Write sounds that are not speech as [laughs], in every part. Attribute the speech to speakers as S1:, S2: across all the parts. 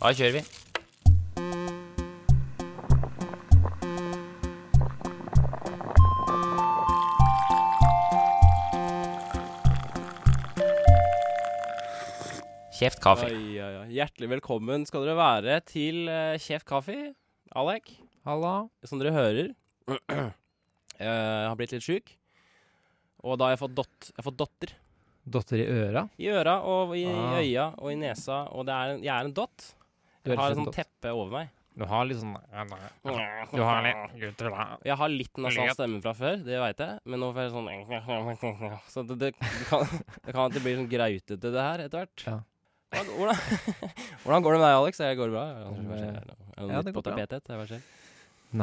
S1: Da kjører vi. Kjeft kaffe.
S2: Ai, ai, ai. Hjertelig velkommen skal dere være til eh, Kjeft kaffe. Alek,
S1: Halla.
S2: som dere hører, [clears throat] eh, har blitt litt sjuk. Og da har jeg fått, dott, jeg har fått dotter
S3: Dotter i øra?
S2: i øra og i,
S3: Ah.
S2: i øya og i nesa, og det er en, jeg er en dott.
S3: Du er rett og
S2: Jeg har et
S3: slett
S2: sånt
S3: dott.
S2: teppe over meg.
S3: Du har litt sånn Du har litt gutter, da.
S2: Jeg har litt nasal
S3: Litt.
S2: stemme fra før, det veit jeg, men nå får jeg sånn [laughs] Så det, det, det kan det kan at det blir sånn grautete, det her, etter hvert.
S3: Ja.
S2: Hvordan, hvordan- [laughs] hvordan går det med deg, Alex? Jeg går det bra? Er det noe-
S3: Eh,
S2: er det noe
S3: ja,
S2: nytt
S3: det
S2: på
S3: går bra.
S2: tapetet? Hva skjer?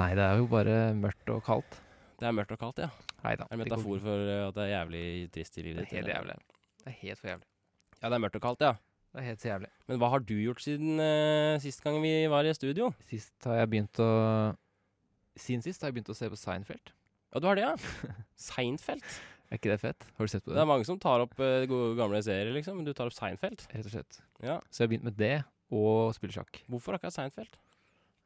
S3: Nei, det er jo bare mørkt og kaldt.
S2: Det er mørkt og kaldt, ja.
S3: Nei da.
S2: Er det en metafor for eh, at det er jævlig trist i
S3: Det
S2: livet
S3: er
S2: ditt?
S3: helt
S2: eller?
S3: jævlig. Det er helt for jævlig.
S2: Ja, det er mørkt og kaldt, ja.
S3: Det er helt så jævlig.
S2: Men hva har du gjort siden eh, sist gang vi var i studio?
S3: Sist har jeg begynt å Siden sist har jeg begynt å se på Seinfeld.
S2: Ja, du har det,
S3: [laughs]
S2: ja. Seinfeld.
S3: Er ikke det fett? Har du sett på
S2: Det er
S3: det?
S2: mange som tar opp eh, gode, gamle serier, liksom, men du tar opp Seinfeld.
S3: Rett og slett.
S2: Ja.
S3: Så jeg har begynt med det, og spille sjakk.
S2: Hvorfor akkurat Seinfeld?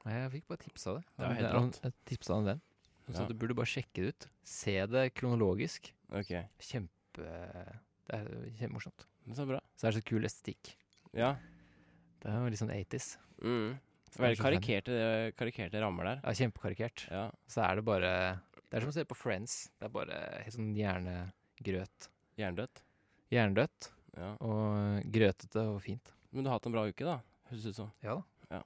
S3: Nei, jeg fikk bare tips av det.
S2: Det er jo helt
S3: noen-
S2: rått.
S3: Jeg tipsa av en venn. Hun sa
S2: Ja.
S3: at du burde bare sjekke det ut. Se det kronologisk.
S2: Ok,
S3: Kjempe Det er kjempemorsomt.
S2: men så bra.
S3: Så er det så kul estetikk.
S2: Ja.
S3: Det er jo litt sånn 80s.
S2: Mm.
S3: er
S2: Veldig
S3: så
S2: karikerte, karikerte rammer der.
S3: Ja, kjempekarikert.
S2: Ja.
S3: Så er det bare Det er som å se på Friends. Det er bare helt sånn hjernegrøt.
S2: Jerndødt.
S3: Jerndødt
S2: Ja.
S3: og grøtete og fint.
S2: Men du har hatt en bra uke, da. Høres ut som.
S3: Ja da.
S2: Ja.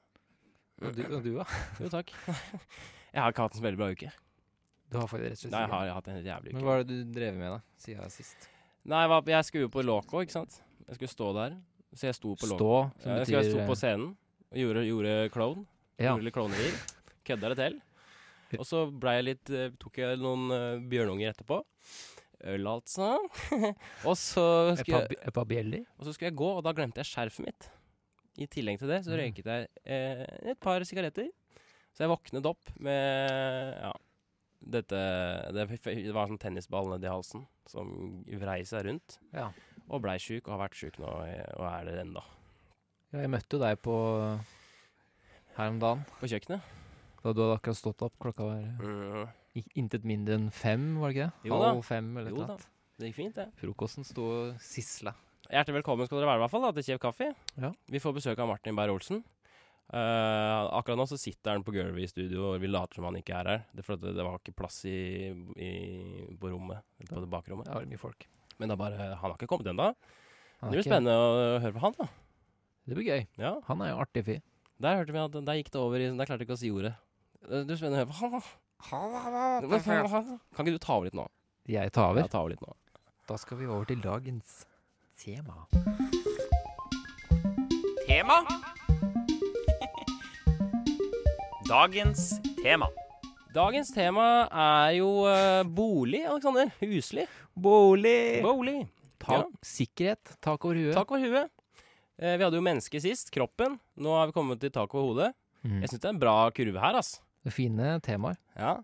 S3: Og du, og du da?
S2: Jo, takk. [laughs] jeg har ikke hatt en så veldig bra uke.
S3: Du har faktisk rett og slett
S2: Nei, jeg
S3: ikke.
S2: har hatt en helt jævlig uke.
S3: Men hva er det du drev med, da? Siden sist.
S2: Nei, jeg, var, jeg skulle jo på Låko, ikke sant? Jeg skulle stå der. Så jeg sto på Låko.
S3: Stå, som
S2: Ja, jeg, skulle,
S3: betyr eh,
S2: jeg sto på scenen og gjorde, gjorde klovn.
S3: Ja.
S2: Gjorde litt klovnerier. Kødda det til. Og så ble jeg litt, eh, tok jeg noen eh, bjørnunger etterpå. Øl, altså. [laughs] og, så skulle, jeg-
S3: Epabjelli?
S2: og så skulle jeg gå, og da glemte jeg skjerfet mitt. I tillegg til det så
S3: Mm.
S2: røyket jeg eh, et par sigaretter. Så jeg våknet opp med ja, dette Det det var sånn tennisball nedi halsen som vrei seg rundt.
S3: Ja.
S2: Og blei sjuk, og har vært sjuk nå, eh, og er det ennå.
S3: ja. Jeg møtte jo deg på her om dagen.
S2: På kjøkkenet.
S3: Da du hadde akkurat stått opp. Klokka var
S2: Mm.
S3: i- intet mindre enn fem, var det ikke det?
S2: Jo da.
S3: Halv fem eller
S2: Jo
S3: noe.
S2: da. Det gikk fint, det.
S3: Frokosten sto og sisla.
S2: Hjertelig velkommen skal dere være i hvert fall da, til Kjev Kaffe.
S3: Ja.
S2: Vi får besøk av Martin Beyer-Olsen. Eh, akkurat nå så sitter han på gulvet i studio, og vi later som han ikke er her. Det, er fordi det, det var ikke plass i, i, på rommet, på det bakrommet.
S3: Det var mye folk.
S2: Men det er bare, han har ikke kommet ennå.
S3: Han
S2: Det
S3: er
S2: blir
S3: ikke-
S2: spennende å høre på han, da.
S3: Det blir gøy.
S2: Ja.
S3: Han er jo artig fyr.
S2: Der hørte vi at der gikk det over i Der klarte jeg ikke å si ordet. Det det blir spennende å høre på han, da. Kan ikke du ta over litt nå?
S3: Jeg tar over.
S2: Ja, ta over litt nå.
S3: Da skal vi over til dagens tema.
S1: Tema? Dagens tema.
S2: Dagens tema er jo eh, bolig, Aleksander. Huslig.
S3: Bolig!
S2: Bolig.
S3: Ta
S2: Ja.
S3: Sikkerhet. Tak over huet.
S2: Tak over huet. Eh, vi hadde jo mennesket sist, kroppen. Nå har vi kommet til tak over hodet.
S3: Mm.
S2: Jeg syns det er en bra kurve her, ass.
S3: Fine temaer.
S2: Ja.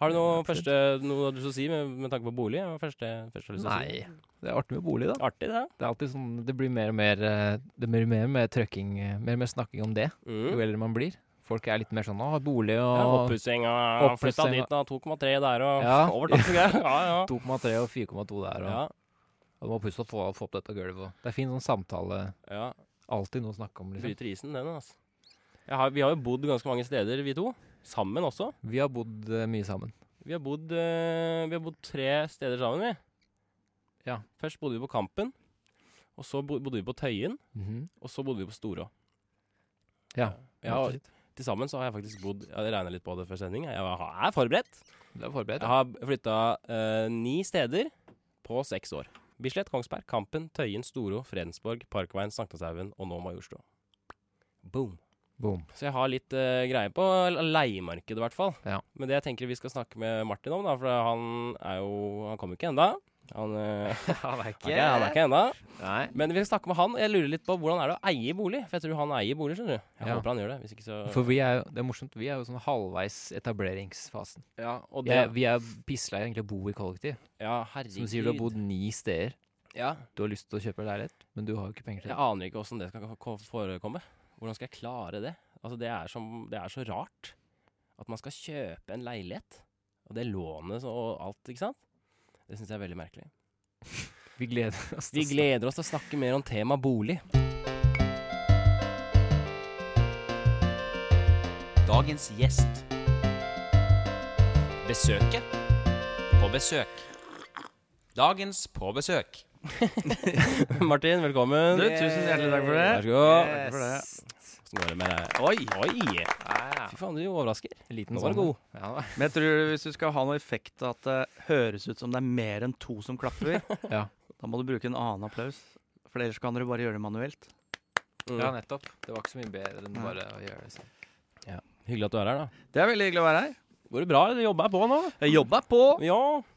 S2: Har du noe,
S3: Ja, absolutt.
S2: første, noe du skal si med, med tanke på bolig? Hva er Første, første du skal si?
S3: Det er artig med bolig, da.
S2: Artig, det.
S3: Det er alltid sånn, det blir mer og mer eh, Det blir mer og mer trøkking, eh, mer og mer snakking om det jo
S2: Mm.
S3: eldre man blir. Folk er litt mer sånn 'Å, bolig'
S2: Ja,
S3: og
S2: Oppussing og
S3: Oppussing
S2: flytta
S3: og-
S2: dit, da. 2,3 der og
S3: Ja.
S2: overtak
S3: [laughs]
S2: og greier. Ja, ja.
S3: 2,3 og 4,2 der, og,
S2: ja,
S3: og du må pusse og få, få opp dette gulvet. og Det er fin sånn samtale.
S2: ja.
S3: Alltid noe å snakke om. Liksom.
S2: Bryter isen, den, altså. Jeg har, vi har jo bodd ganske mange steder, vi to. Sammen også.
S3: Vi har bodd eh, mye sammen.
S2: Vi har bodd, eh, vi har bodd tre steder sammen, vi.
S3: Ja.
S2: Først bodde vi på Kampen. Og så bo- bodde vi på Tøyen.
S3: Mhm.
S2: Og så bodde vi på Storå.
S3: Ja.
S2: Ja, og Til sammen så har jeg faktisk bodd Jeg regna litt på det før sending. Jeg har- er forberedt.
S3: Du er forberedt.
S2: Jeg har flytta eh, ni steder på seks år. Bislett, Kongsberg, Kampen, Tøyen, Storå, Fredensborg, Parkveien, Sankthanshaugen og nå Majorstua. Boom.
S3: Boom. [laughs]
S2: Så jeg har litt eh, greie på l- leiemarkedet, i hvert fall.
S3: Ja.
S2: Men det jeg tenker vi skal snakke med Martin om, da, for han er jo Han kommer ikke enda. Han, eh,
S3: Han er
S2: han er ikke- han er ikke enda.
S3: Nei.
S2: Men vi skal snakke med han. Jeg lurer litt på hvordan er det å eie bolig. For jeg tror han eier bolig, skjønner du. Jeg
S3: Ja.
S2: håper han gjør det. Hvis ikke så
S3: For vi er jo, det er morsomt, vi er jo sånn halvveis etableringsfasen.
S2: Ja, og
S3: Vi
S2: det
S3: er, vi er pisslei egentlig å bo i kollektiv.
S2: Ja, herregud.
S3: Som du sier, du har bodd ni steder.
S2: Ja.
S3: Du har lyst til å kjøpe leilighet, men du har jo ikke penger til
S2: Jeg
S3: det.
S2: aner ikke åssen det skal ko- forekomme. Hvordan skal jeg klare det? Altså, det er, som, det er så rart at man skal kjøpe en leilighet, og det lånet så- og alt, ikke sant? Det syns jeg er veldig merkelig.
S3: Vi gleder oss
S2: Vi gleder oss til å snakke mer om tema bolig.
S1: Dagens gjest. Besøket på besøk. Dagens på besøk.
S2: [laughs] Martin, velkommen.
S4: Du, tusen hjertelig takk for det.
S2: Vær så god.
S4: Takk for det.
S2: Hvordan går det med deg? Oi, oi!
S3: Ja,
S2: Fy faen, du overrasker.
S3: Liten sånn,
S2: Nå var du god.
S3: Ja, da.
S4: Men jeg tror hvis du skal ha noe effekt at det høres ut som det er mer enn to som [laughs] klapper,
S3: Ja.
S4: da må du bruke en annen applaus. For ellers kan dere bare gjøre det manuelt.
S2: Mm.
S3: ja, nettopp. Det var ikke så mye bedre enn bare å gjøre det sånn.
S2: Hyggelig at du er her, da.
S4: Det er veldig hyggelig å være her.
S2: Går det bra? eller Jobber jeg på nå?
S4: Jeg jobba på.
S2: Ja.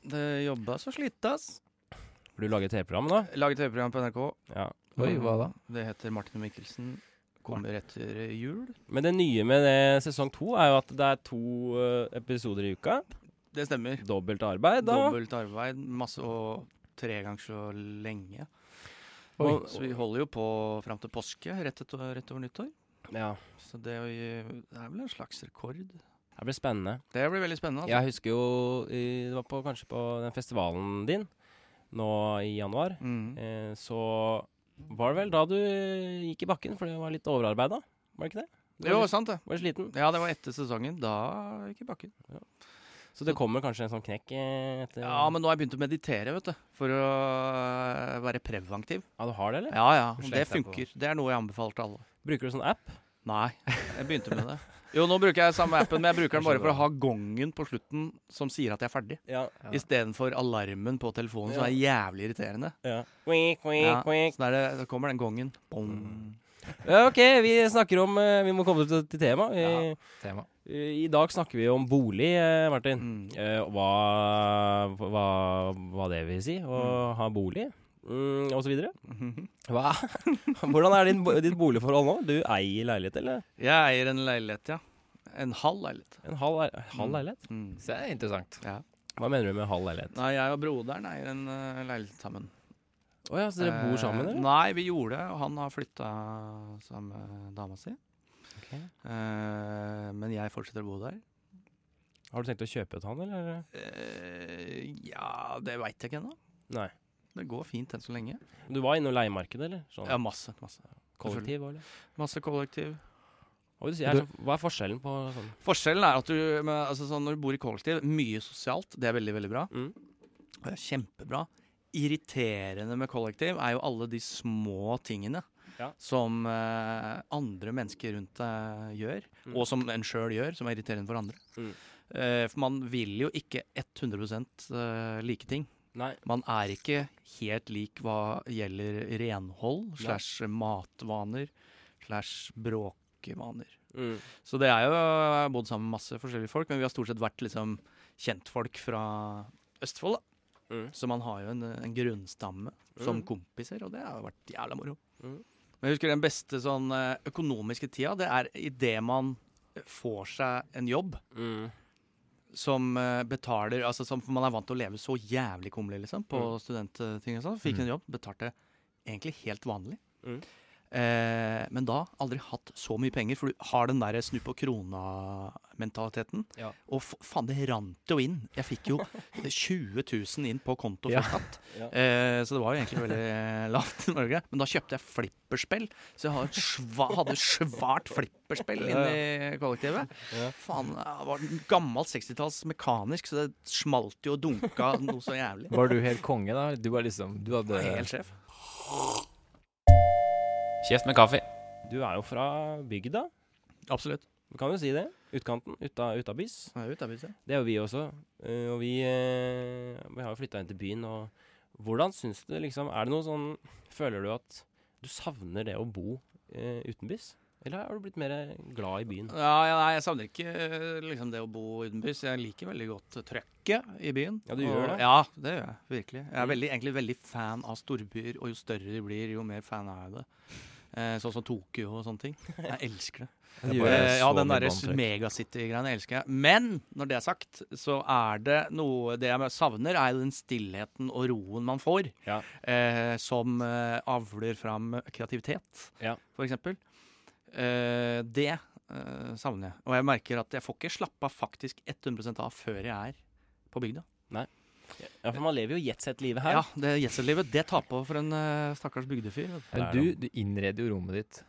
S4: Det jobba så slitas.
S2: Har du laget TV-program, da?
S4: Laget TV-program på NRK.
S2: Ja.
S3: Oi, hva da?
S4: Det heter Martin og Mikkelsen. Kommer etter jul.
S2: Men det nye med det, sesong to er jo at det er to eh, episoder i uka.
S4: Det stemmer.
S2: Dobbelt arbeid, da.
S4: Dobbelt arbeid. Masse og tre ganger så lenge.
S2: Oi.
S4: Og, så vi holder jo på fram til påske, rett, etter, rett over nyttår.
S2: Ja.
S4: Så det er jo- det er vel en slags rekord.
S2: Det blir spennende.
S4: Det blir veldig spennende. Altså.
S2: Jeg husker jo i- Det var på, kanskje på den festivalen din nå i januar.
S4: Mm.
S2: Eh, så var det vel da du gikk i bakken, for det var litt overarbeida? Var det ikke det? Du
S4: Jo,
S2: var, litt,
S4: sant det.
S2: var sliten.
S4: Ja, det var etter sesongen. Da gikk jeg i bakken.
S2: Så det kommer kanskje en sånn knekk eh, etter
S4: Ja, men nå har jeg begynt å meditere, vet du. For å øh, være preventiv.
S2: Ja, du har det, eller?
S4: Ja, ja. og Det
S3: Sleng deg på.
S4: funker. Det er noe jeg anbefaler til alle.
S2: Bruker du sånn app?
S4: Nei, [laughs] jeg begynte med det. Jo, nå bruker jeg samme appen, men jeg bruker den bare for å ha gongen på slutten som sier at jeg er ferdig.
S2: Ja.
S3: Ja.
S4: Istedenfor alarmen på telefonen, som er jævlig irriterende.
S2: ja. Quick, quick,
S4: Ja.
S2: quick.
S4: Så da er det, så kommer den gongen. Bong.
S2: Ja, Ok, vi snakker om eh, Vi må komme til, til tema. Vi,
S3: Ja. Tema.
S2: eh, I dag snakker vi om bolig, eh, Martin.
S4: Mm.
S2: Eh, og hva, hva, hva det vil si å ha bolig, mm, og så videre.
S4: Mhm.
S2: Hva? [laughs] Hvordan er din, bo- ditt boligforhold nå? Du eier leilighet, eller?
S4: Jeg eier en leilighet, ja. En halv leilighet.
S2: En halv, leil- halv
S4: Mm.
S2: leilighet?
S4: Mm.
S3: Så det er interessant.
S2: Hva mener du med halv leilighet?
S4: Nei, jeg og broderen eier en øh, leilighet sammen.
S2: Å ja, så dere bor sammen,
S4: Eh,
S2: eller?
S4: Nei, vi gjorde det. Og han har flytta sammen med dama si.
S2: Ok.
S4: Eh, men jeg fortsetter å bo der.
S2: Har du tenkt å kjøpe et han, eller?
S4: Eh, ja, det veit jeg ikke ennå.
S2: Nei.
S4: Det går fint enn så lenge.
S2: Du var inne i leiemarkedet, eller? Sånn
S4: Ja, masse. Masse,
S2: kollektiv, eller?
S4: masse kollektiv.
S2: Hva, vil du si, er, sånn, hva er forskjellen på sånn
S4: Forskjellen er at du, men, altså, sånn, når du bor i kollektiv, mye sosialt. Det er veldig, veldig bra.
S2: mm.
S4: Det er Kjempebra. Irriterende med kollektiv er jo alle de små tingene
S2: Ja.
S4: som eh, andre mennesker rundt deg gjør,
S2: Mm.
S4: og som en sjøl gjør, som er irriterende for andre.
S2: Mm.
S4: Eh, for man vil jo ikke 100 eh, like ting.
S2: Nei.
S4: Man er ikke helt lik hva gjelder renhold
S2: Nei.
S4: slash matvaner slash bråkevaner.
S2: Mm.
S4: Så det er jo Jeg har bodd sammen med masse forskjellige folk, men vi har stort sett vært liksom kjentfolk fra Østfold, da.
S2: Mm.
S4: Så man har jo en, en grunnstamme som
S2: Mm.
S4: kompiser, og det har jo vært jævla moro.
S2: Mm.
S4: Men jeg husker den beste sånn eh, økonomiske tida, det er idet man får seg en jobb
S2: Mm.
S4: som eh, betaler altså som, For man er vant til å leve så jævlig kummerlig, liksom, på
S3: Mm.
S4: studentting og sånn. Fikk en jobb, betalte egentlig helt vanlig.
S2: Mm.
S4: Eh, men da aldri hatt så mye penger, for du har den der snu på krona-mentaliteten.
S3: Ja.
S4: Og f faen, det rant jo inn. Jeg fikk jo
S3: [laughs]
S4: 20 000 inn på konto
S3: Ja.
S4: for skatt.
S2: Ja.
S4: Eh, så det var jo egentlig veldig eh, lavt i Norge. Men da kjøpte jeg flipperspill, så jeg har et sva hadde et svært flipperspill
S2: Ja,
S4: inn i kollektivet. Faen, jeg var en gammel 60-talls mekanisk, så det smalt jo og dunka noe så jævlig.
S3: Var du helt konge, da? Du var liksom Du
S4: Jeg
S3: hadde
S4: var Helt sjef.
S1: Kjeft med kaffe.
S2: Du er jo fra bygda,
S4: Absolutt.
S2: kan du si det? Utkanten, uta, utabys.
S4: Jeg er ute av huset.
S2: Det er jo vi også. eh, Og vi, eh, vi har jo flytta inn til byen, og hvordan syns du liksom Er det noe sånn Føler du at du savner det å bo eh, utenbys? Eller har du blitt mer eh, glad i byen?
S4: Ja, ja, nei, jeg savner ikke eh, liksom, det å bo utenbys. Jeg liker veldig godt trøkket i byen.
S2: Ja, du gjør
S4: Og-
S2: det.
S4: Ja, det gjør jeg. Virkelig. Jeg er
S2: Mm.
S4: veldig, egentlig veldig fan av storbyer, og jo større de blir, jo mer fan er jeg det. Eh, sånn som Tokyo og sånne ting. Jeg elsker det.
S3: Det
S2: gjør
S3: bare
S4: Eh, ja,
S3: så
S4: den
S3: mye
S4: derre
S3: båndtrykk.
S4: megacity-greiene elsker jeg. Men når det er sagt, så er det noe Det jeg savner, er den stillheten og roen man får.
S2: Ja.
S4: Eh, som eh, avler fram kreativitet,
S2: Ja.
S4: for eksempel. Eh, det eh, savner jeg. Og jeg merker at jeg får ikke slappa faktisk 100 av før jeg er på bygda.
S2: Ja, for man lever jo jetset-livet her.
S4: Ja, det Gjessellivet, det tar på for en eh, stakkars bygdefyr. vet du.
S2: Der
S3: Men
S2: er
S3: du, du innreder jo rommet ditt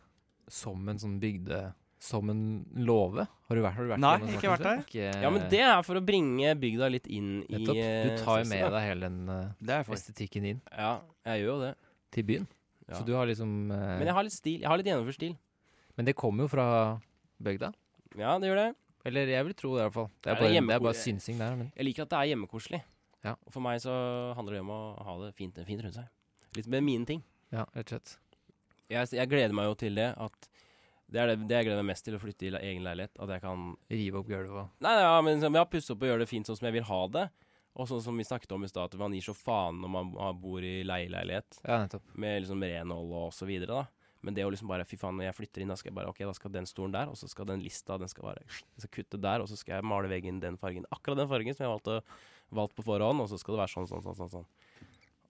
S3: som en sånn bygde... Som en låve? Har du vært, har du vært
S4: Nei,
S3: gjennom
S4: ikke
S3: sånt,
S4: vært der.
S3: kanskje? Ikke-
S2: Ja, men det er for å bringe bygda litt inn i
S3: Nettopp.
S2: eh,
S3: Du tar jo
S2: sesongen,
S3: med
S2: da.
S3: deg hele den eh,
S4: Det er jeg for.
S3: estetikken inn
S2: Ja, jeg gjør jo det.
S3: til byen.
S2: Ja.
S3: Så du har liksom eh,
S2: Men jeg har litt stil. Jeg har litt gjennomført stil.
S3: Men det kommer jo fra bygda.
S2: Ja, det gjør det.
S3: Eller jeg vil tro det, i hvert fall. Det er
S2: Er
S3: bare,
S2: det
S3: det er
S2: hjemmeko-
S3: bare synsing der. Men
S2: Jeg liker at det er hjemmekoselig.
S3: Ja.
S2: Og for meg så handler det om å ha det fint, fint rundt seg. Litt med mine ting.
S3: ja, rett og slett.
S2: Jeg, jeg gleder meg jo til det at det er det, det jeg gleder meg mest til, å flytte i le egen leilighet. At jeg kan
S3: Rive opp gulvet og
S2: Nei, ja, men som jeg har pusset opp og gjør det fint sånn som jeg vil ha det. Og sånn som vi snakket om i stad, at man gir så faen når man har- bor i leieleilighet.
S3: Ja, nettopp.
S2: med liksom renhold og så videre, da. Men det å liksom bare Fy faen, når jeg flytter inn, da skal jeg bare Ok, da skal den stolen der, og så skal den lista, den skal bare Jeg skal kutte der, og så skal jeg male veggen den fargen. Akkurat den fargen som jeg valgte, valgte på forhånd, og så skal det være sånn, sånn, sånn, sånn. sånn.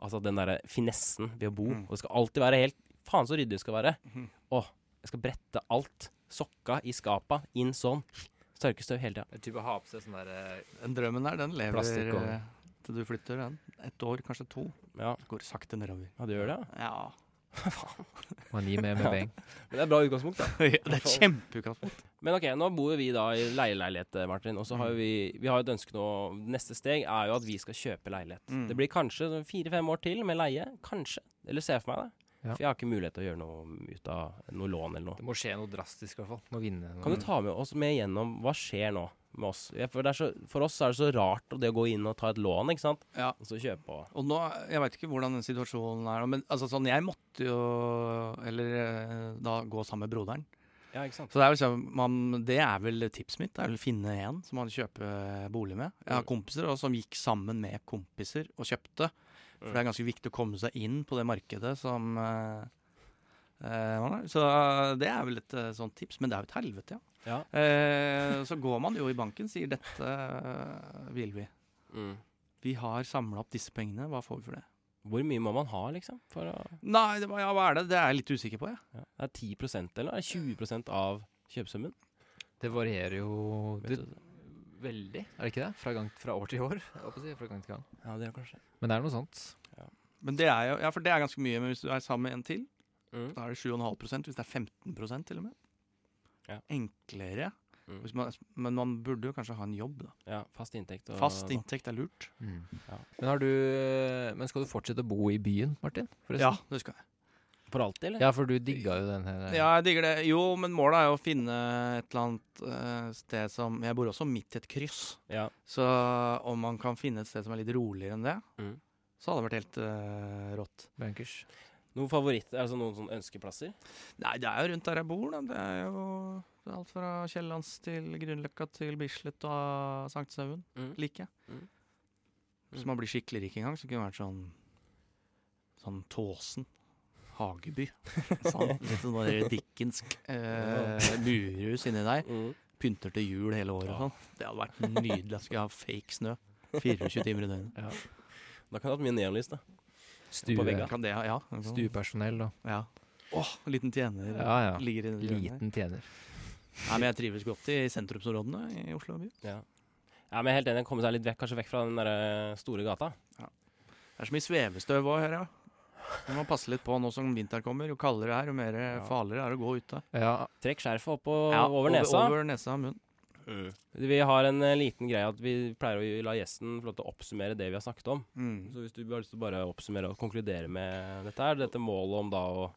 S2: Altså den derre finessen ved å bo.
S4: Mm.
S2: Og det skal alltid være helt Faen så ryddig det skal være.
S4: Mhm.
S2: Åh, jeg skal brette alt. Sokka i skapa, inn sånn. Tørkestøv hele tida.
S3: Det er type å ha på seg sånn derre
S4: Den drømmen der, den lever
S3: Plastikk og-
S4: eh, til du flytter. Den. Et år, kanskje to.
S2: Ja.
S4: Går sakte nedover.
S2: ja, det gjør det, ja.
S4: [laughs] Ja.
S3: mani med med beng.
S2: Men det er bra utgangspunkt, da.
S4: det er kjempeutgangspunkt.
S2: Men ok, nå bor jo vi da i leieleilighet, eh, Martin. Og så har jo vi, vi har jo et ønske nå Neste steg er jo at vi skal kjøpe leilighet.
S4: Mm.
S2: Det blir kanskje sånn fire-fem år til med leie. Kanskje. Eller se for meg det.
S3: Ja.
S2: For jeg har ikke mulighet til å gjøre noe ut av noe lån eller noe.
S3: Det må skje noe drastisk, i hvert fall. Må vinne noe.
S2: Kan du ta med oss med gjennom hva skjer nå med oss? Ja, For, det er så, for oss er det så rart det å gå inn og ta et lån, ikke sant.
S4: Ja.
S2: Og så kjøpe og
S4: Og nå, Jeg veit ikke hvordan den situasjonen er, nå, men altså sånn, jeg måtte jo Eller eh, da gå sammen med broderen.
S2: Ja, ikke sant.
S4: Så det er, vel sånn, man, det er vel tipset mitt. Det er vel å finne en som man kjøper eh, bolig med. Jeg har
S2: Mm.
S4: kompiser og som gikk sammen med kompiser og kjøpte. For
S2: Mm.
S4: det er ganske viktig å komme seg inn på det markedet som eh, eh, man er. Så eh, det er vel et eh, sånt tips. Men det er jo et helvete, ja.
S2: Ja.
S4: Eh, så går man jo i banken sier 'dette eh, vil vi'.
S2: Mm.
S4: Vi har samla opp disse pengene, hva får vi for det?
S2: Hvor mye må man ha, liksom? For å,
S4: Nei, det, var- ja, hva er det? Det er jeg litt usikker på, jeg.
S2: ja. Det er 10 eller er det 20 av kjøpesummen?
S3: Det varierer jo
S2: Vet
S3: det,
S2: du det?
S3: veldig, er det ikke det? Fra, gang, fra år til år. jeg holdt på å si, fra gang til gang.
S2: Ja, det er kanskje
S3: Men det er noe sånt.
S4: Men det er jo, ja, for det er ganske mye. Men hvis du er sammen med en til,
S2: Mm.
S4: da er det 7,5 Hvis det er 15 til og med.
S2: Ja.
S4: Enklere.
S2: Mm.
S4: Hvis man, men man burde jo kanskje ha en jobb, da.
S2: Ja, fast inntekt. og-
S4: Fast inntekt er lurt.
S2: Ja.
S3: Mm. Men, har du, eh, men skal du fortsette å bo i byen, Martin?
S4: Ja,
S3: forresten?
S4: det skal jeg.
S2: For alltid, eller?
S3: Ja, for du digga jo den her eh,
S4: Ja, jeg digger det. Jo, men målet er jo å finne et eller annet eh, sted som Jeg bor også midt i et kryss.
S2: Ja.
S4: Så om man kan finne et sted som er litt roligere enn det,
S2: Mm.
S4: så hadde det vært helt eh, rått.
S3: Bankers.
S2: Noen favoritter, altså noen sånne ønskeplasser?
S4: Nei, det er jo rundt der jeg bor, da. Det er jo det er alt fra Kiellands til Grünerløkka til Bislett og Sankthanshaugen.
S2: Mm.
S4: Like.
S2: Mm.
S4: Hvis man blir skikkelig rik en gang, så kunne det vært sånn Sånn Tåsen. Hageby. [laughs] Sånn, litt sånn der dickensk eh, murhus inni der.
S2: Mm.
S4: Pynter til jul hele året og sånn. Det hadde vært nydelig. Jeg skulle ha fake snø. 24 timer i døgnet.
S2: Da kan du ha hatt mye neonlys, da. På
S3: Stue,
S2: vegga.
S4: Kan det ha Ja. det kan-
S3: stuepersonell og
S4: ja. Åh, en liten tjener.
S3: Ja, ja.
S4: Ligger inni det hjørnet her.
S3: Liten tjener.
S4: Nei, men jeg trives godt i sentrumsområdene i Oslo by.
S2: Ja. ja, men jeg er helt enig. Komme seg litt vekk, kanskje vekk fra den der eh, store gata.
S4: Det er så mye svevestøv òg, hører jeg. Du må passe litt på nå som vinteren kommer. Jo kaldere det er, jo mer
S2: Ja.
S4: farligere er det å gå ute.
S3: Ja,
S2: Trekk skjerfet opp og over nesa.
S4: Over nesa og munn.
S2: Vi har en eh, liten greie at vi pleier å la gjesten få lov til å oppsummere det vi har snakket om.
S4: Mm.
S2: Så hvis du har lyst til å bare oppsummere og konkludere med dette her, dette målet om da å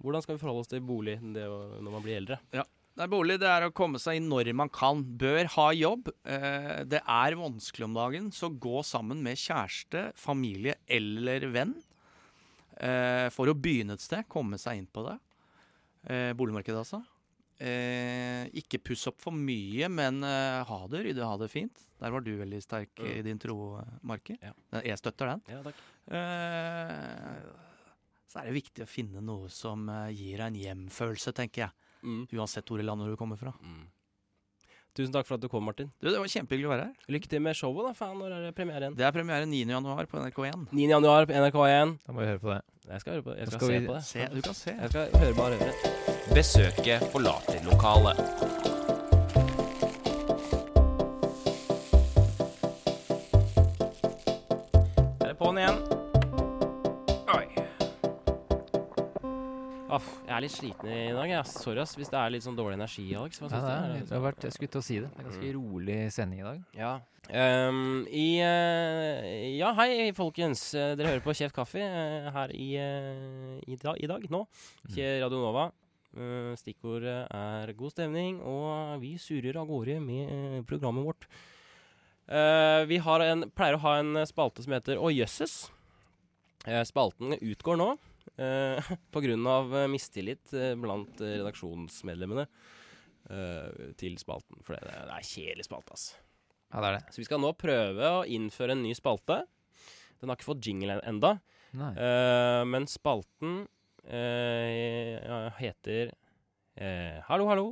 S2: Hvordan skal vi forholde oss til bolig det å, når man blir eldre?
S4: Nei, bolig det er å komme seg inn når man kan. Bør ha jobb. Eh, det er vanskelig om dagen, så gå sammen med kjæreste, familie eller venn. Eh, for å begynne et sted, komme seg inn på det. Eh, boligmarkedet, altså. Eh, ikke puss opp for mye, men eh, ha det ryddig, ha det fint. Der var du veldig sterk i din tro, eh, Marker.
S2: Ja.
S4: Nei, Jeg støtter den.
S2: Ja, takk.
S4: Eh, så er det viktig å finne noe som eh, gir deg en hjemfølelse, tenker jeg.
S2: Mm.
S4: Uansett hvor i landet du kommer fra.
S2: Mm. Tusen takk for at du kom, Martin.
S4: Du, det var kjempehyggelig å være her.
S2: Lykke til med showet, da, faen. Når er det premiere igjen?
S4: Det er premiere 9. januar på NRK1.
S2: 9. januar på NRK1.
S3: Da må vi høre på det.
S2: Jeg skal høre på det.
S3: Da
S2: Jeg skal,
S3: skal
S2: se
S3: vi-
S2: på det.
S4: Se, du kan se.
S2: Jeg skal høre bare høre.
S1: Besøket forlater lokalet.
S2: Er det på'n igjen? Oi. Aff, jeg er litt sliten i dag. Jeg. Sorry ass, hvis det er litt sånn dårlig energi, Alex.
S3: Ja,
S2: Hva syns
S3: det,
S2: du? Er
S3: er,
S2: det
S3: det har vært, jeg skulle til å si det. Det er ganske rolig sending i dag.
S2: Ja. Ehm, i eh, Ja, hei, folkens. Eh, Dere hører på Kjeft kaffe eh, her i, eh, i, dag, i dag, nå. Ikke Radio Nova. Eh, stikkordet er god stemning, og vi surrer av gårde med eh, programmet vårt. Eh, vi har en, pleier å ha en eh, spalte som heter Å jøsses. Eh, spalten utgår nå. eh, [laughs] på grunn av eh, mistillit eh, blant eh, redaksjonsmedlemmene eh, til spalten. For det, det er kjedelig spalte, ass.
S3: Ja, det er det.
S2: Så vi skal nå prøve å innføre en ny spalte. Den har ikke fått jingle en- enda,
S3: Nei.
S2: eh, men spalten eh, ja, heter eh, Hallo, hallo.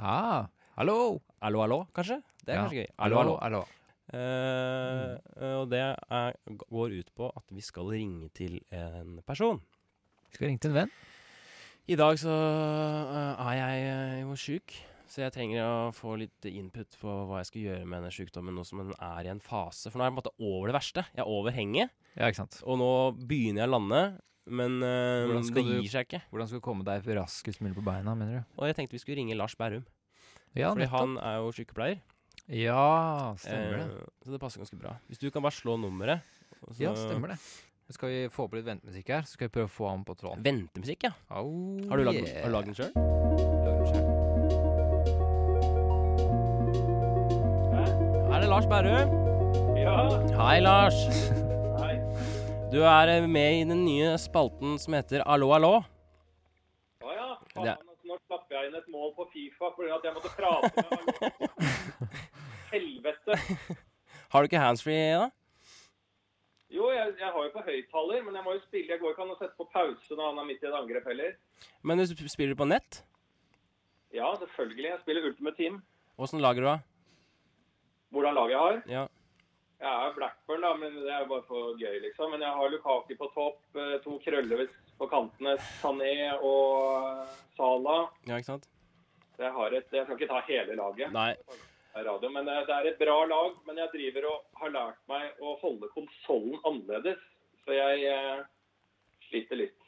S3: Ah, hallo!
S2: Hallo, hallo, kanskje? Det er
S3: Ja.
S2: kanskje gøy. Hallo, hallo.
S3: hallo.
S2: Eh, og det er, går ut på at vi skal ringe til en person.
S3: Skal vi ringe til en venn?
S2: I dag så eh, er jeg eh, jo sjuk, så jeg trenger å få litt input på hva jeg skal gjøre med denne sjukdommen nå som den er i en fase. For nå er jeg på en måte over det verste. Jeg er over henget.
S3: Ja, ikke sant.
S2: Og nå begynner jeg å lande, men eh,
S3: Hvordan
S2: det
S3: skal
S2: gir
S3: du-
S2: seg ikke.
S3: Hvordan skal du komme deg raskest mulig på beina, mener du?
S2: Og jeg tenkte vi skulle ringe Lars Berrum,
S3: Ja,
S2: Fordi han er jo sykepleier.
S3: Ja, stemmer det.
S2: eh, så det passer ganske bra. Hvis du kan bare slå nummeret. og så-
S3: Ja, stemmer det. Men Skal vi få på litt ventemusikk her, så skal vi prøve å få ham på tråden.
S2: Ventemusikk, ja.
S3: Au,
S2: Har du lagd den-
S3: yeah.
S2: har du lagd den sjøl?
S3: Lagd den selv.
S2: Er det Lars Berrum? Ja. Hei, Lars.
S3: [laughs]
S2: Hei. Du er eh, med i den nye spalten som heter Allo, allo.
S5: Å ja.
S2: Det-
S5: Faen, altså, nå slapp jeg inn et mål på Fifa fordi at jeg måtte prate med han.
S2: [laughs]
S5: Helvete.
S2: Har du ikke handsfree da?
S5: Jo, jeg, jeg har jo på høyttaler, men jeg må jo spille. Jeg går ikke an å sette på pause når han er midt i et angrep heller.
S2: Men du sp- spiller på nett?
S5: Ja, selvfølgelig. Jeg spiller Ultimate Team.
S2: Åssen lager du da?
S5: Hvordan laget jeg har?
S2: Ja.
S5: Jeg er Blackburn, da, men det er jo bare for gøy, liksom. Men jeg har Lukaki på topp, eh, to krøller ved- på kantene, Sané og Sala.
S2: ja, ikke sant?
S5: Jeg, har et, jeg skal ikke ta hele laget.
S2: Nei.
S5: av radio, men det, det er et bra lag. Men jeg driver og har lært meg å holde konsollen annerledes. Så jeg eh, sliter litt.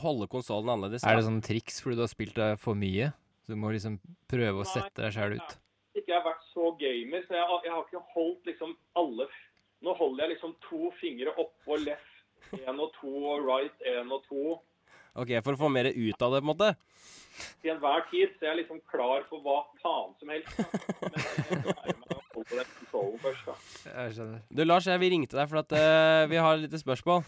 S2: Holde konsollen annerledes.
S3: Er det sånn triks fordi du har spilt deg for mye? Så du må liksom prøve å
S5: Nei.
S3: sette deg sjæl ut?
S5: Ikke jeg har vært så gamer, så jeg, har- jeg har ikke holdt liksom alle Nå holder jeg liksom to fingre oppå left én og to og right én og to
S3: sånn?
S2: Ok, For å få mer ut av det, på en måte?
S5: til enhver tid. Så jeg er liksom klar for hva faen som helst. da. Men jeg lærer meg å holde den konsollen først, da.
S3: Jeg skjønner.
S2: Du Lars, jeg vil ringe til deg for at eh, vi har et lite spørsmål.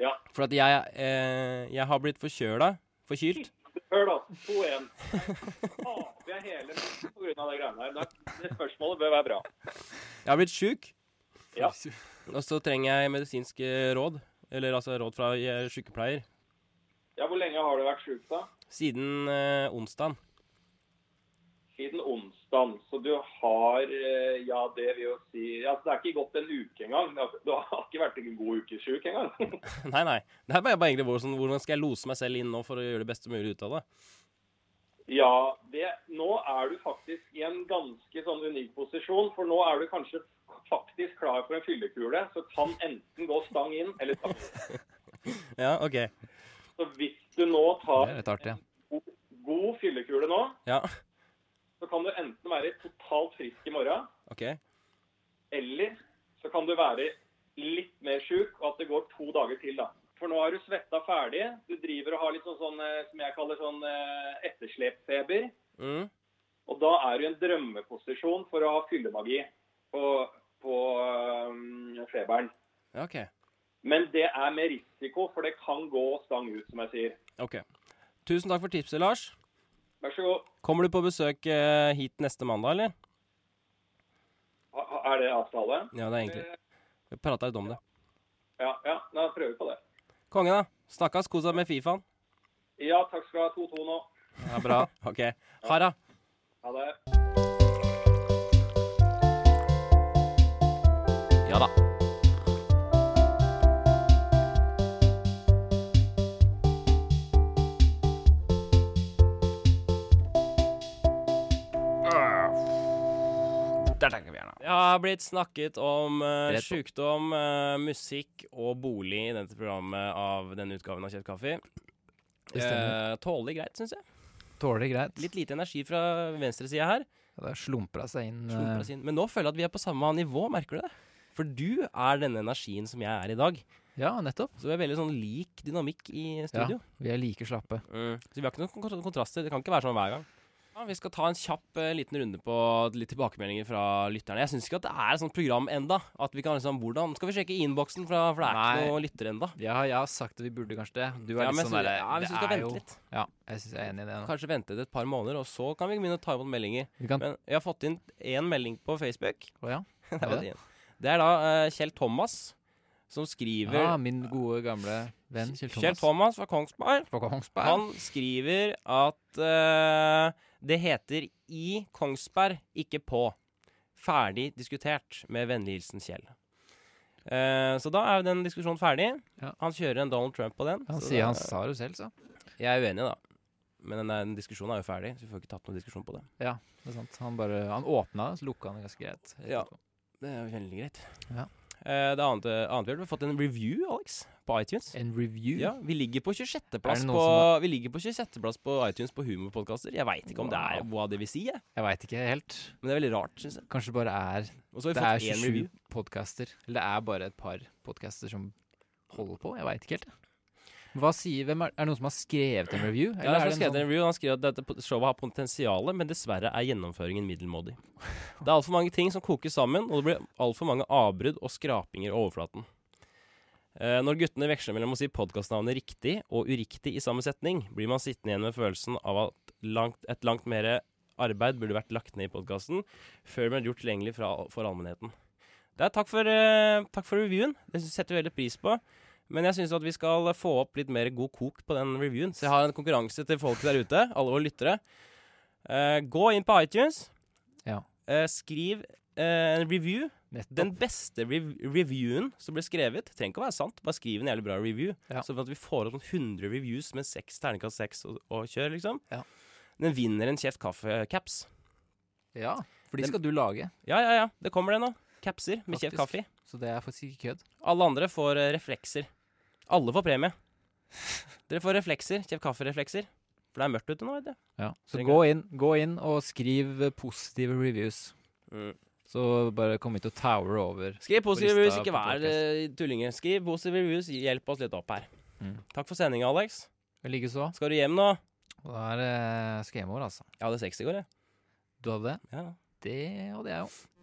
S5: Ja.
S2: For at jeg, eh, jeg har blitt forkjøla. Forkylt.
S5: Hør, da. 2-1. Taper jeg hele på grunn av det greiene her. Da- Det spørsmålet bør være bra.
S2: Jeg har blitt sjuk.
S5: Ja.
S2: Og så trenger jeg medisinske råd. Eller altså råd fra eh, sykepleier.
S5: Ja, Hvor lenge har du vært sjuk, da?
S2: Siden eh, onsdag.
S5: Siden onsdag. Så du har eh, Ja, det vil jo si ja, så Det er ikke gått en uke engang. Det har- Du har ikke vært en god uke sjuk engang.
S2: [laughs]
S5: [laughs]
S2: Nei, nei. Det er bare, bare egentlig hvor, sånn, hvordan skal jeg lose meg selv inn nå for å gjøre det beste mulig ut av det?
S5: Ja, det, nå er du faktisk i en ganske sånn unik posisjon, for nå er du kanskje faktisk klar for en fyllekule, så kan enten gå stang inn eller stang ut.
S2: Ja, OK.
S5: Så hvis du nå
S3: Det er
S5: tar
S3: litt artig. ja.
S5: god, god fyllekule nå,
S2: Ja.
S5: så kan du enten være totalt frisk i morgen,
S2: OK.
S5: Eller så kan du være litt mer sjuk, og at det går to dager til, da. For nå har du svetta ferdig. Du driver og har litt sånn, sånn eh, som jeg kaller sånn eh, etterslepfeber.
S2: Mm.
S5: Og da er du i en drømmeposisjon for å ha fyllemagi på, på eh, feberen.
S2: Ja, OK.
S5: Men det er med risiko, for det kan gå stang ut, som jeg sier.
S2: Ok. Tusen takk for tipset, Lars.
S5: Vær så god.
S2: Kommer du på besøk eh, hit neste mandag, eller?
S5: Ha- ha- Er det avtale?
S2: Ja, det er egentlig Vi prata litt om det.
S5: Ja, ja. Da prøver vi på det.
S2: Konge, da. Snakkes. Kos deg med Fifaen. [laughs]
S5: Ja, takk skal du ha. 2-2 nå.
S2: Ja, bra. OK. Ha det.
S5: Ha det.
S1: Ja da. Der tenker vi gjerne.
S2: Jeg har blitt snakket om eh,
S3: Rett på.
S2: sjukdom, eh, musikk og bolig i dette programmet av denne utgaven av Kjøtt kaffe.
S3: Det stemmer.
S2: Eh, tålelig greit, syns jeg.
S3: Tåler det greit.
S2: Litt lite energi fra venstresida her.
S3: Ja, Det slumper det seg inn.
S2: slumper
S3: eh,
S2: oss inn. Men nå føler jeg at vi er på samme nivå, merker du det? For du er denne energien som jeg er i dag.
S3: Ja, nettopp.
S2: Så vi er veldig sånn lik dynamikk i studio.
S3: Vi er like slappe.
S2: Mm. Så vi har ikke noen kon- kontraster. Det kan ikke være sånn hver gang. Ja, vi skal ta en kjapp eh, liten runde på litt tilbakemeldinger fra lytterne. Jeg syns ikke at det er et sånt program enda At vi kan liksom Hvordan skal vi sjekke innboksen, fra- for det er
S3: Nei.
S2: ikke noen lyttere enda
S3: Ja, jeg har sagt at vi burde kanskje det. Du sånn
S2: Ja, men jeg synes- ja, hvis vi skal vente litt.
S3: Ja, jeg syns jeg er enig i det. nå.
S2: Kanskje vente et par måneder, og så kan vi begynne å ta imot meldinger.
S3: Vi kan,
S2: Men jeg har fått inn én melding på Facebook. [laughs]
S3: å [laughs] ja.
S2: Det var
S3: Ja.
S2: det. Det er da eh, Kjell Thomas som skriver
S3: ja, Ah, min gode gamle venn Kjell Thomas.
S2: Ah, Kjell Thomas fra Kongsberg.
S3: Fra Kongsberg.
S2: Han skriver at eh, det heter i Kongsberg, ikke på. Ferdig diskutert. Med vennlig hilsen Kjell. Eh, så da er jo den diskusjonen ferdig.
S3: Ja.
S2: Han kjører en Donald Trump på den.
S3: Han
S2: så
S3: sier han
S2: da-
S3: sa det jo selv, så.
S2: Jeg er uenig, da. Men den, der- den diskusjonen er jo ferdig, så vi får ikke tatt noen diskusjon på det.
S3: Det er sant. Han bare Han åpna det, så lukka han det ganske greit.
S2: Ja. Det er jo veldig greit.
S3: Ja.
S2: Eh, det annet, annet vi har fått en review, Alex, på iTunes.
S3: En review.
S2: Ja, vi ligger på 26.-plass
S3: Er det
S2: på,
S3: noen som
S2: Vi ligger på 26.-plass på iTunes på humorpodkaster. Jeg veit ikke om det er hva det vil si, jeg.
S3: Jeg veit ikke helt.
S2: men det er veldig rart, syns jeg.
S3: Kanskje det bare er
S2: Og så har
S3: Det er
S2: vi fått én
S3: 27
S2: review.
S3: podcaster Eller det er bare et par podcaster som holder på. Jeg veit ikke helt, jeg. Hva sier, hvem er, er det noen som har skrevet en review?
S2: Ja, det er
S3: er
S2: som skrevet en review, Han skriver at dette po- showet har potensial, men dessverre er gjennomføringen middelmådig. Det er altfor mange ting som kokes sammen, og det blir altfor mange avbrudd og skrapinger i overflaten. Eh, når guttene veksler mellom å si podkastnavnet riktig og uriktig i samme setning, blir man sittende igjen med følelsen av at langt, et langt mer arbeid burde vært lagt ned i podkasten før den ble gjort tilgjengelig fra, for allmennheten. Det er takk for, eh, takk for reviewen. Det sy- setter vi veldig pris på. Men jeg syns at vi skal få opp litt mer god kok på den reviewen. Så jeg har en konkurranse til folk der ute, alle våre lyttere. Eh, gå inn på iTunes.
S3: Ja.
S2: Eh, skriv eh, en review. Den
S3: Nettopp.
S2: beste rev reviewen som ble skrevet. Trenger ikke å være sant, bare skriv en jævlig bra review.
S3: Ja.
S2: Sånn at vi får opp sånn 100 reviews med seks terningkast seks og, og kjør, liksom.
S3: Ja.
S2: Den vinner en kjeft kaffe-caps.
S3: Ja, for de
S2: Den-
S3: skal du lage.
S2: Ja, ja, ja. Det kommer det nå. Capser med kjeft
S3: Faktisk.
S2: kaffe. i.
S3: Så det er faktisk ikke kødd.
S2: Alle andre får eh, reflekser. Alle får premie. Dere får reflekser. Kjøp kaffereflekser. For det er mørkt ute nå, vet du.
S3: Ja. Så
S2: Trenger
S3: gå inn, gå inn og skriv eh, positive reviews. Så bare kom hit og tower over.
S2: Skriv positive
S3: Mm. På
S2: reviews,
S3: lista
S2: ikke
S3: på
S2: vær eh, tullinger. Skriv positive reviews, hjelp oss litt opp her.
S3: Mm.
S2: Takk for sendinga, Alex.
S3: Likeså.
S2: Skal du hjem nå?
S3: Og da er det eh, skal hjemover, altså.
S2: Jeg hadde sex i går, jeg.
S3: Du hadde det?
S2: Ja.
S3: Det hadde jeg jo.